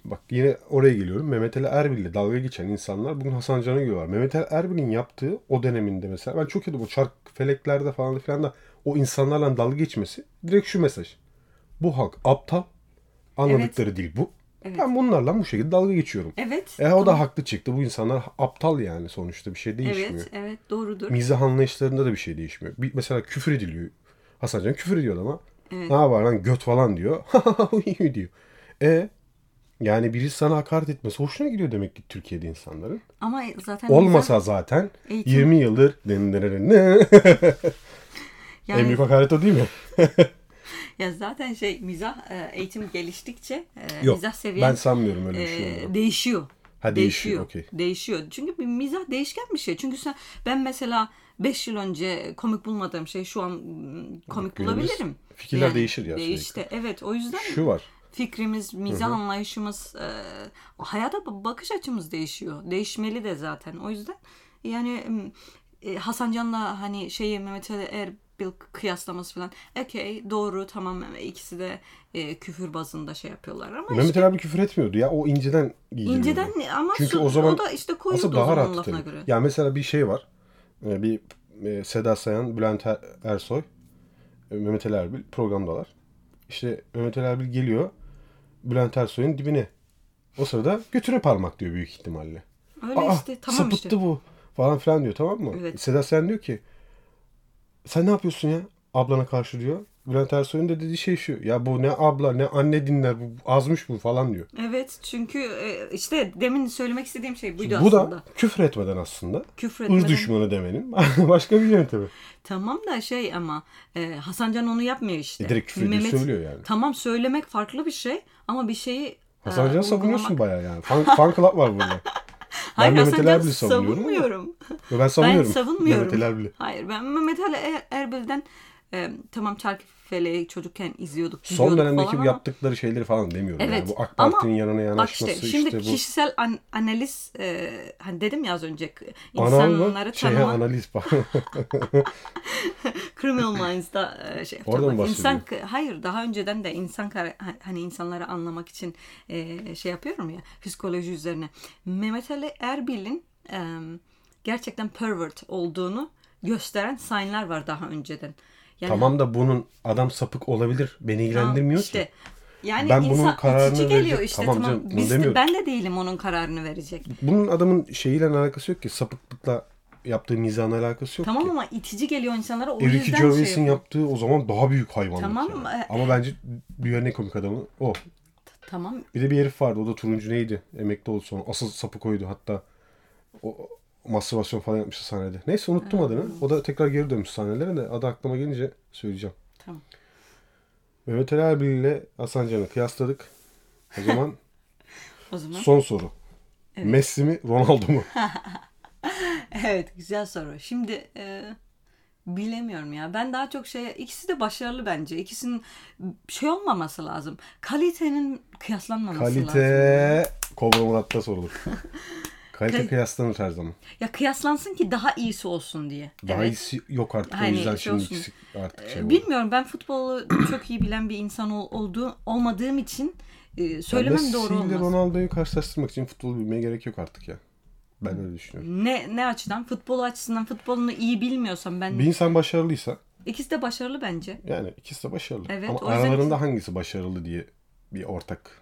Speaker 1: bak yine oraya geliyorum. Mehmet Ali Erbil'le dalga geçen insanlar bugün Hasan Can'a gülüyorlar. Mehmet Ali Erbil'in yaptığı o döneminde mesela ben çok yedim o çark feleklerde falan filan da o insanlarla dalga geçmesi direkt şu mesaj. Bu halk aptal anladıkları değil bu. Ben bunlarla bu şekilde dalga geçiyorum.
Speaker 2: Evet.
Speaker 1: E o da haklı çıktı. Bu insanlar aptal yani sonuçta bir şey değişmiyor.
Speaker 2: Evet, evet doğrudur.
Speaker 1: mizah anlayışlarında da bir şey değişmiyor. Bir, mesela küfür ediliyor. Hasan Can küfür ediyor ama
Speaker 2: Evet.
Speaker 1: ne yapar lan göt falan diyor. [LAUGHS] Huyu diyor. E yani birisi sana hakaret etmesi hoşuna gidiyor demek ki Türkiye'de insanların.
Speaker 2: Ama zaten
Speaker 1: Olmasa zaten
Speaker 2: Eğitim.
Speaker 1: 20 yıldır
Speaker 2: mizah-
Speaker 1: en
Speaker 2: yani,
Speaker 1: büyük hakaret o değil mi?
Speaker 2: ya zaten şey mizah e, eğitim geliştikçe e,
Speaker 1: Yok.
Speaker 2: mizah seviyen
Speaker 1: Ben sanmıyorum öyle bir şey
Speaker 2: e,
Speaker 1: olduğunu.
Speaker 2: değişiyor.
Speaker 1: Ha, değişiyor, okey.
Speaker 2: Değişiyor. Çünkü bir mizah değişken bir şey. Çünkü sen ben mesela 5 yıl önce komik bulmadığım şey şu an mm, komik
Speaker 1: Gülebiliriz.
Speaker 2: bulabilirim.
Speaker 1: Fikirler değişir ya
Speaker 2: Değişti. Evet o yüzden
Speaker 1: Şu var.
Speaker 2: fikrimiz, mizah anlayışımız, e, hayata ba- bakış açımız değişiyor. Değişmeli de zaten. O yüzden yani m, e, Hasan Can'la hani şeyi Mehmet Ali Erbil kıyaslaması falan. Okey doğru tamam ikisi de e, küfür bazında şey yapıyorlar ama
Speaker 1: Mehmet Ali abi küfür etmiyordu ya. O inceden giydiriyordu.
Speaker 2: İnceden ama
Speaker 1: Çünkü
Speaker 2: su-
Speaker 1: o zaman
Speaker 2: da işte koyuldu
Speaker 1: Aslında
Speaker 2: o
Speaker 1: daha
Speaker 2: zaman
Speaker 1: rahat
Speaker 2: lafına
Speaker 1: tabii.
Speaker 2: göre.
Speaker 1: Ya mesela bir şey var. Ee, Bir e, Seda Sayan, Bülent Er- Ersoy, e, Mehmet Ali Erbil programdalar. İşte Mehmet Ali Erbil geliyor Bülent Ersoy'un dibine. O sırada götüne parmak diyor büyük ihtimalle.
Speaker 2: Öyle
Speaker 1: Aa,
Speaker 2: işte tamam
Speaker 1: sapıttı
Speaker 2: işte.
Speaker 1: bu falan filan diyor tamam mı?
Speaker 2: Evet.
Speaker 1: Seda Sayan diyor ki sen ne yapıyorsun ya ablana karşı diyor. Bülent Ersoy'un da dediği şey şu. Ya bu ne abla ne anne dinler bu azmış bu falan diyor.
Speaker 2: Evet çünkü e, işte demin söylemek istediğim şey buydu
Speaker 1: bu
Speaker 2: aslında.
Speaker 1: da küfür etmeden aslında
Speaker 2: Küfür
Speaker 1: ırz
Speaker 2: etmeden.
Speaker 1: düşmanı demenin [LAUGHS] başka bir yöntemi.
Speaker 2: Tamam da şey ama e, Hasan Can onu yapmıyor işte.
Speaker 1: E, direkt küfür ediyor,
Speaker 2: Mehmet-
Speaker 1: söylüyor yani.
Speaker 2: Tamam söylemek farklı bir şey ama bir şeyi
Speaker 1: Hasan
Speaker 2: e,
Speaker 1: Can'ı savunuyorsun
Speaker 2: uygulamak-
Speaker 1: bayağı yani. Fan, fan club var
Speaker 2: [LAUGHS]
Speaker 1: burada.
Speaker 2: Hayır,
Speaker 1: Mehmet
Speaker 2: Hasan
Speaker 1: Ali
Speaker 2: Can
Speaker 1: Erbil'i savunuyorum ama-
Speaker 2: savunmuyorum.
Speaker 1: Yo, ben savunuyorum.
Speaker 2: Ben savunmuyorum.
Speaker 1: Mehmet Ali Erbil'i.
Speaker 2: Hayır ben Mehmet Ali Er- Erbil'den e, tamam Çarkıfele'yi çocukken izliyorduk.
Speaker 1: Son
Speaker 2: biliyorduk
Speaker 1: dönemdeki
Speaker 2: falan
Speaker 1: bu
Speaker 2: ama-
Speaker 1: yaptıkları şeyleri falan demiyorum.
Speaker 2: Evet,
Speaker 1: Yani. Bu AK
Speaker 2: ama
Speaker 1: Parti'nin yanına
Speaker 2: Bak işte
Speaker 1: yanaşması işte,
Speaker 2: şimdi
Speaker 1: bu
Speaker 2: kişisel an- analiz e, hani dedim ya az önce
Speaker 1: anal mı?
Speaker 2: insanları
Speaker 1: Şey,
Speaker 2: tanımak
Speaker 1: analiz falan.
Speaker 2: Criminal Minds'da e, şey
Speaker 1: Oradan
Speaker 2: yapıyor. Bak,
Speaker 1: bahsediyor.
Speaker 2: insan hayır daha önceden de insan kara- ha- hani insanları anlamak için e, şey yapıyorum ya psikoloji üzerine. Mehmet Ali Erbil'in e, gerçekten pervert olduğunu gösteren sign'lar var daha önceden.
Speaker 1: [LAUGHS]
Speaker 2: Yani
Speaker 1: tamam da bunun adam sapık olabilir. Beni ilgilendirmiyor
Speaker 2: Tamam, işte.
Speaker 1: ki.
Speaker 2: Yani
Speaker 1: Ben
Speaker 2: insan
Speaker 1: bunun kararını
Speaker 2: itici geliyor
Speaker 1: verecek.
Speaker 2: işte
Speaker 1: Tamam
Speaker 2: tamam.
Speaker 1: canım, bunu
Speaker 2: Biz de-
Speaker 1: demiyorum.
Speaker 2: ben de değilim onun kararını verecek.
Speaker 1: Bunun adamın şeyiyle alakası yok ki. Sapıklıkla yaptığı mizanla alakası yok
Speaker 2: Tamam
Speaker 1: ki.
Speaker 2: ama itici geliyor insanlara o
Speaker 1: Ricky
Speaker 2: yüzden
Speaker 1: Gervais'in
Speaker 2: şey yap-
Speaker 1: yaptığı o zaman daha büyük hayvanlık.
Speaker 2: Tamam,
Speaker 1: yani.
Speaker 2: e-
Speaker 1: Ama bence dünyanın en komik adamı o.
Speaker 2: Tamam
Speaker 1: Bir de bir herif vardı. O da turuncu neydi? Emekli oldu sonra. Asıl sapık oydu. Hatta o mastürbasyon falan yapmıştı sahnede. Neyse unuttum adını. O da tekrar geri dönmüş sahnelere de adı aklıma gelince söyleyeceğim.
Speaker 2: tamam.
Speaker 1: Mehmet Ali Erbil ile Hasan Can'ı kıyasladık. O
Speaker 2: [LAUGHS]
Speaker 1: zaman
Speaker 2: O zaman
Speaker 1: son soru. Messi mi Ronaldo
Speaker 2: [LAUGHS]
Speaker 1: mu?
Speaker 2: Evet güzel soru. Şimdi e, bilemiyorum ya. Ben daha çok şey ikisi de başarılı bence. İkisinin şey olmaması lazım. Kalitenin kıyaslanmaması lazım.
Speaker 1: Kalite Kobra Murat'ta
Speaker 2: [LAUGHS]
Speaker 1: sorulur. Kalite
Speaker 2: Kal-
Speaker 1: kıyaslanır her zaman.
Speaker 2: Ya kıyaslansın ki daha iyisi olsun diye.
Speaker 1: Daha
Speaker 2: evet.
Speaker 1: iyisi yok artık.
Speaker 2: Hani
Speaker 1: o yüzden
Speaker 2: şey
Speaker 1: şimdi
Speaker 2: olsun.
Speaker 1: ikisi artık şey
Speaker 2: E,
Speaker 1: oldu.
Speaker 2: Bilmiyorum ben futbolu [CLEARS THROAT] çok iyi bilen bir insan ol- olduğu olmadığım için e, söylemem
Speaker 1: Messi
Speaker 2: doğru
Speaker 1: ile
Speaker 2: olmaz.
Speaker 1: Ronaldo'yu karşılaştırmak için futbolu bilmeye gerek yok artık ya. Ben öyle düşünüyorum.
Speaker 2: Ne ne açıdan? Futbol açısından futbolunu iyi bilmiyorsam ben
Speaker 1: Bir insan başarılıysa
Speaker 2: ikisi de başarılı bence.
Speaker 1: yani ikisi de başarılı.
Speaker 2: Evet,
Speaker 1: Ama
Speaker 2: o yüzden-
Speaker 1: aralarında hangisi başarılı diye bir ortak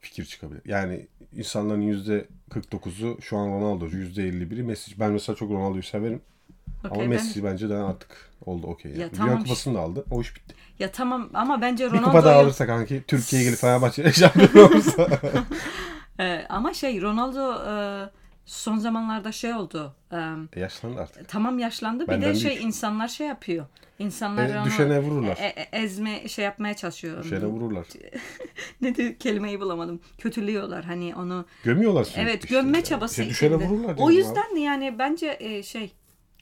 Speaker 1: fikir çıkabilir. Yani insanların yüzde 49'u şu an Ronaldo'cu, yüzde 51'i Messi. Ben mesela çok Ronaldo'yu severim.
Speaker 2: Okey,
Speaker 1: ama
Speaker 2: ben-
Speaker 1: Messi bence daha artık oldu okey. Yani.
Speaker 2: Ya
Speaker 1: Ya,
Speaker 2: tamam
Speaker 1: Dünya
Speaker 2: işte.
Speaker 1: Kupası'nı da aldı. O iş bitti.
Speaker 2: Ya tamam ama bence
Speaker 1: Bir kupa daha
Speaker 2: Ronaldo'yu
Speaker 1: alırsa kanki Türkiye'ye gelip Fenerbahçe'ye [LAUGHS] şampiyon
Speaker 2: [LAUGHS]
Speaker 1: olursa.
Speaker 2: Ee, ama şey Ronaldo e, son zamanlarda şey oldu. E,
Speaker 1: E, Yaşlandı artık.
Speaker 2: tamam yaşlandı. Bir
Speaker 1: Benden
Speaker 2: de şey
Speaker 1: büyük.
Speaker 2: insanlar şey yapıyor. İnsanlar
Speaker 1: E,
Speaker 2: onu
Speaker 1: düşene vururlar.
Speaker 2: e- e- ezme şey yapmaya çalışıyor.
Speaker 1: Şeyle vururlar.
Speaker 2: [LAUGHS] ne diyor kelimeyi bulamadım. Kötülüyorlar hani onu.
Speaker 1: Gömüyorlar sürekli
Speaker 2: Evet
Speaker 1: işte
Speaker 2: gömme
Speaker 1: yani.
Speaker 2: çabası
Speaker 1: İşte Şey, düşene
Speaker 2: içinde.
Speaker 1: vururlar
Speaker 2: O
Speaker 1: diyorum abi.
Speaker 2: yüzden de yani bence e, şey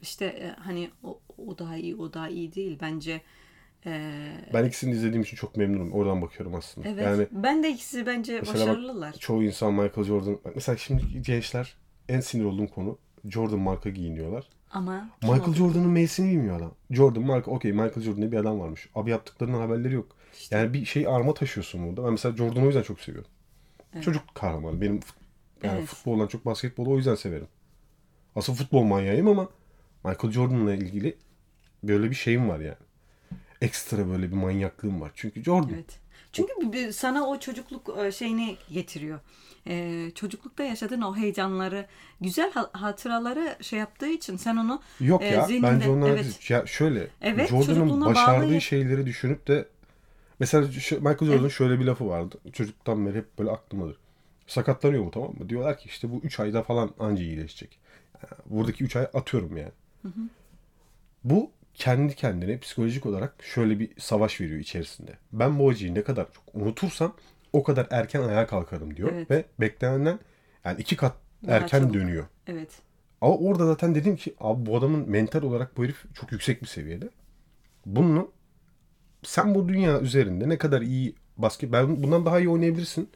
Speaker 2: işte e, hani o, o daha iyi o daha iyi değil bence. E,
Speaker 1: Ben ikisini izlediğim için çok memnunum. Oradan bakıyorum aslında.
Speaker 2: evet.
Speaker 1: Yani
Speaker 2: ben de ikisi bence
Speaker 1: Mesela bak-
Speaker 2: başarılılar.
Speaker 1: çoğu insan Michael Jordan... Mesela şimdi gençler en sinir olduğum konu Jordan marka giyiniyorlar.
Speaker 2: Ama kim
Speaker 1: Michael
Speaker 2: oldu?
Speaker 1: Jordan'ın M'sini bilmiyor adam. Jordan marka okey Michael Jordan diye bir adam varmış. Abi yaptıklarının haberleri yok. Yani bir şey arma taşıyorsun burada. Ben mesela Jordan'ı o yüzden çok seviyorum. Çocuk kahramanı. Benim fut- yani
Speaker 2: Evet.
Speaker 1: futboldan çok basketbolu o yüzden severim. Asıl futbol manyağıyım ama Michael Jordan'la ilgili böyle bir şeyim var yani. Ekstra böyle bir manyaklığım var. Çünkü Jordan.
Speaker 2: Evet. Çünkü bir- bir sana o çocukluk e, şeyini getiriyor. Ee, çocuklukta yaşadığın o heyecanları, güzel ha- hatıraları şey yaptığı için sen onu
Speaker 1: Yok
Speaker 2: e,
Speaker 1: ya
Speaker 2: zihninde-
Speaker 1: bence onlar şey,
Speaker 2: evet.
Speaker 1: ya şöyle
Speaker 2: Evet,
Speaker 1: Jordan'ın
Speaker 2: çocukluğuna
Speaker 1: başardığı
Speaker 2: bağlı-
Speaker 1: şeyleri düşünüp de mesela şu- Michael Jordan'ın şöyle bir lafı vardı. Çocuktan beri hep böyle aklımdadır. Sakatlanıyor mu tamam mı? Diyorlar ki işte bu 3 ayda falan anca iyileşecek. Yani Buradaki 3 ay atıyorum yani. Bu kendi kendine psikolojik olarak şöyle bir savaş veriyor içerisinde. Ben bu acıyı ne kadar çok unutursam o kadar erken ayağa kalkarım diyor
Speaker 2: Evet.
Speaker 1: ve beklenenden yani iki kat
Speaker 2: Daha
Speaker 1: erken
Speaker 2: çabuk.
Speaker 1: dönüyor.
Speaker 2: Evet.
Speaker 1: Ama orada zaten dedim ki abi bu adamın mental olarak bu herif çok yüksek bir seviyede. Bunu sen bu dünya üzerinde ne kadar iyi basket ben bundan daha iyi oynayabilirsin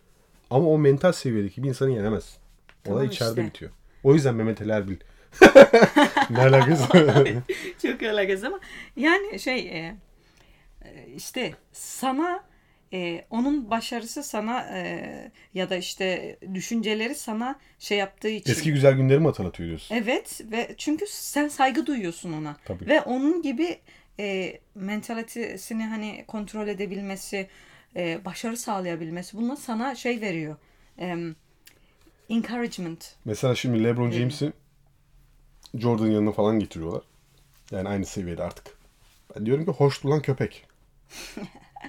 Speaker 1: ama o mental seviyedeki bir insanı yenemezsin. Olay
Speaker 2: Tamam
Speaker 1: içeride
Speaker 2: işte.
Speaker 1: bitiyor. O yüzden Mehmet Ali
Speaker 2: [LAUGHS]
Speaker 1: Erbil. ne alakası?
Speaker 2: Çok alakası ama yani şey e, e, işte sana e, onun başarısı sana e, ya da işte düşünceleri sana şey yaptığı için.
Speaker 1: Eski güzel günlerimi hatırlatıyor diyorsun.
Speaker 2: Evet ve çünkü sen saygı duyuyorsun ona
Speaker 1: Tabii.
Speaker 2: ve onun gibi e, mentalitesini hani kontrol edebilmesi, e, başarı sağlayabilmesi bunlar sana şey veriyor. Em, encouragement.
Speaker 1: Mesela şimdi LeBron James'i Jordan yanına falan getiriyorlar. Yani aynı seviyede artık. Ben diyorum ki hoş lan köpek.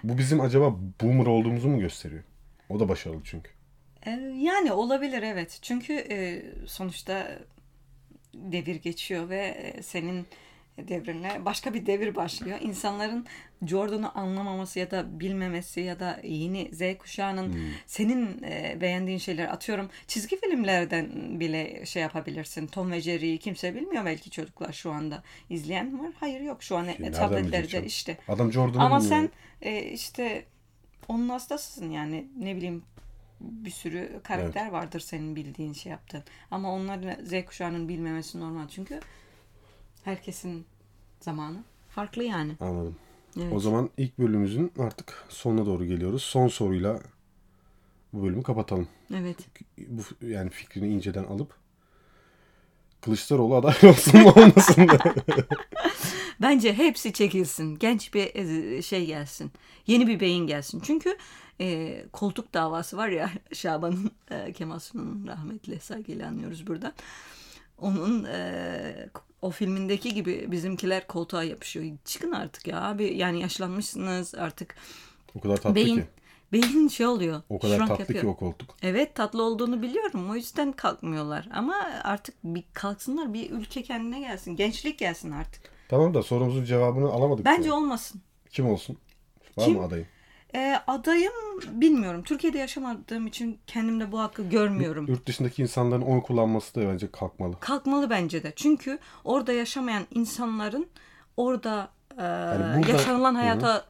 Speaker 1: Bu bizim acaba boomer olduğumuzu mu gösteriyor? O da başarılı çünkü.
Speaker 2: E, Yani olabilir evet. Çünkü e, sonuçta devir geçiyor ve e, senin devrine başka bir devir başlıyor. İnsanların Jordan'ı anlamaması ya da bilmemesi ya da yeni Z kuşağının senin e, beğendiğin şeyler atıyorum. Çizgi filmlerden bile şey yapabilirsin. Tom ve Jerry'yi kimse bilmiyor belki çocuklar şu anda. izleyen var. Hayır yok şu an e,
Speaker 1: nereden bilecek
Speaker 2: tabletlerde
Speaker 1: canım?
Speaker 2: işte.
Speaker 1: Adam Jordan'ı
Speaker 2: Ama
Speaker 1: bilmiyor.
Speaker 2: sen e, işte onun hastasısın yani ne bileyim bir sürü karakter vardır senin bildiğin şey yaptığın. Ama onların Z kuşağının bilmemesi normal çünkü herkesin zamanı farklı yani.
Speaker 1: Anladım.
Speaker 2: Evet.
Speaker 1: O zaman ilk bölümümüzün artık sonuna doğru geliyoruz. Son soruyla bu bölümü kapatalım.
Speaker 2: Evet.
Speaker 1: Bu yani fikrini inceden alıp Kılıçdaroğlu aday [LAUGHS] olsun mu olmasın da.
Speaker 2: Bence hepsi çekilsin. Genç bir e, şey gelsin. Yeni bir beyin gelsin. Çünkü e, koltuk davası var ya [LAUGHS] Şaban'ın e, Kemal Sunal'ın rahmetli saygıyla anıyoruz buradan. Onun e, o filmindeki gibi bizimkiler koltuğa yapışıyor. Çıkın artık ya abi. Yani yaşlanmışsınız artık.
Speaker 1: O kadar tatlı
Speaker 2: beyin
Speaker 1: ki.
Speaker 2: beyin şey oluyor.
Speaker 1: O kadar
Speaker 2: şurank
Speaker 1: tatlı ki
Speaker 2: yapıyor.
Speaker 1: o koltuk.
Speaker 2: Evet tatlı olduğunu biliyorum. O yüzden kalkmıyorlar. Ama artık bir kalksınlar. Bir ülke kendine gelsin. Gençlik gelsin artık.
Speaker 1: Tamam da sorumuzun cevabını alamadık.
Speaker 2: Bence
Speaker 1: yani.
Speaker 2: olmasın.
Speaker 1: Kim olsun? Var
Speaker 2: Kim?
Speaker 1: mı adayı?
Speaker 2: E, adayım bilmiyorum. Türkiye'de yaşamadığım için kendimde bu hakkı görmüyorum.
Speaker 1: Yurt dışındaki insanların oy kullanması da bence kalkmalı.
Speaker 2: Kalkmalı bence de. Çünkü orada yaşamayan insanların orada e,
Speaker 1: burada-
Speaker 2: yaşanılan
Speaker 1: Hı hı.
Speaker 2: hayata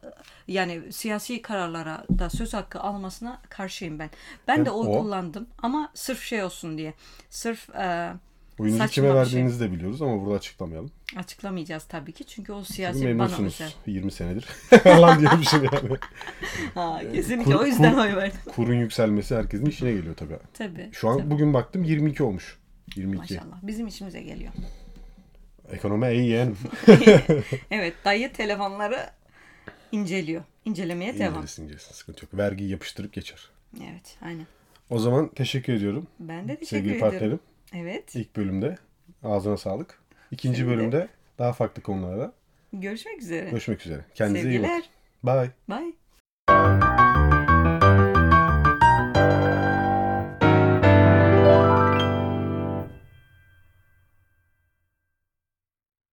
Speaker 2: yani siyasi kararlara da söz hakkı almasına karşıyım ben. Ben
Speaker 1: Ben
Speaker 2: de oy
Speaker 1: o-
Speaker 2: kullandım ama sırf şey olsun diye. Sırf e,
Speaker 1: Oyunu
Speaker 2: Saçma
Speaker 1: kime
Speaker 2: bir şey.
Speaker 1: verdiğinizi de biliyoruz ama burada açıklamayalım.
Speaker 2: açıklamayacağız tabii ki çünkü o
Speaker 1: Çünkü
Speaker 2: siyasi bana şey.
Speaker 1: memnunsunuz
Speaker 2: özel.
Speaker 1: 20 senedir. [LAUGHS] Lan diyormuşum şey yani. [LAUGHS]
Speaker 2: Ha, kesinlikle
Speaker 1: Ee, kur-
Speaker 2: o yüzden
Speaker 1: kur-
Speaker 2: oy verdim.
Speaker 1: Kurun yükselmesi herkesin işine geliyor tabii.
Speaker 2: Tabii.
Speaker 1: Şu an
Speaker 2: tabii.
Speaker 1: bugün baktım 22 olmuş. 22.
Speaker 2: maşallah bizim işimize geliyor.
Speaker 1: Ekonomi iyi yani.
Speaker 2: Evet dayı telefonları inceliyor. İncelemeye [LAUGHS] devam.
Speaker 1: İngiliz İngiliz sıkıntı yok. Vergiyi yapıştırıp geçer.
Speaker 2: Evet aynen.
Speaker 1: O zaman teşekkür ediyorum
Speaker 2: Ben de teşekkür
Speaker 1: sevgili
Speaker 2: ediyorum.
Speaker 1: partnerim.
Speaker 2: Evet.
Speaker 1: İlk bölümde ağzına sağlık. İkinci
Speaker 2: Senin de.
Speaker 1: bölümde daha farklı konulara
Speaker 2: Görüşmek üzere.
Speaker 1: görüşmek üzere. Kendinize iyi
Speaker 2: Sevgiler.
Speaker 1: bakın. Bye.
Speaker 2: Bye.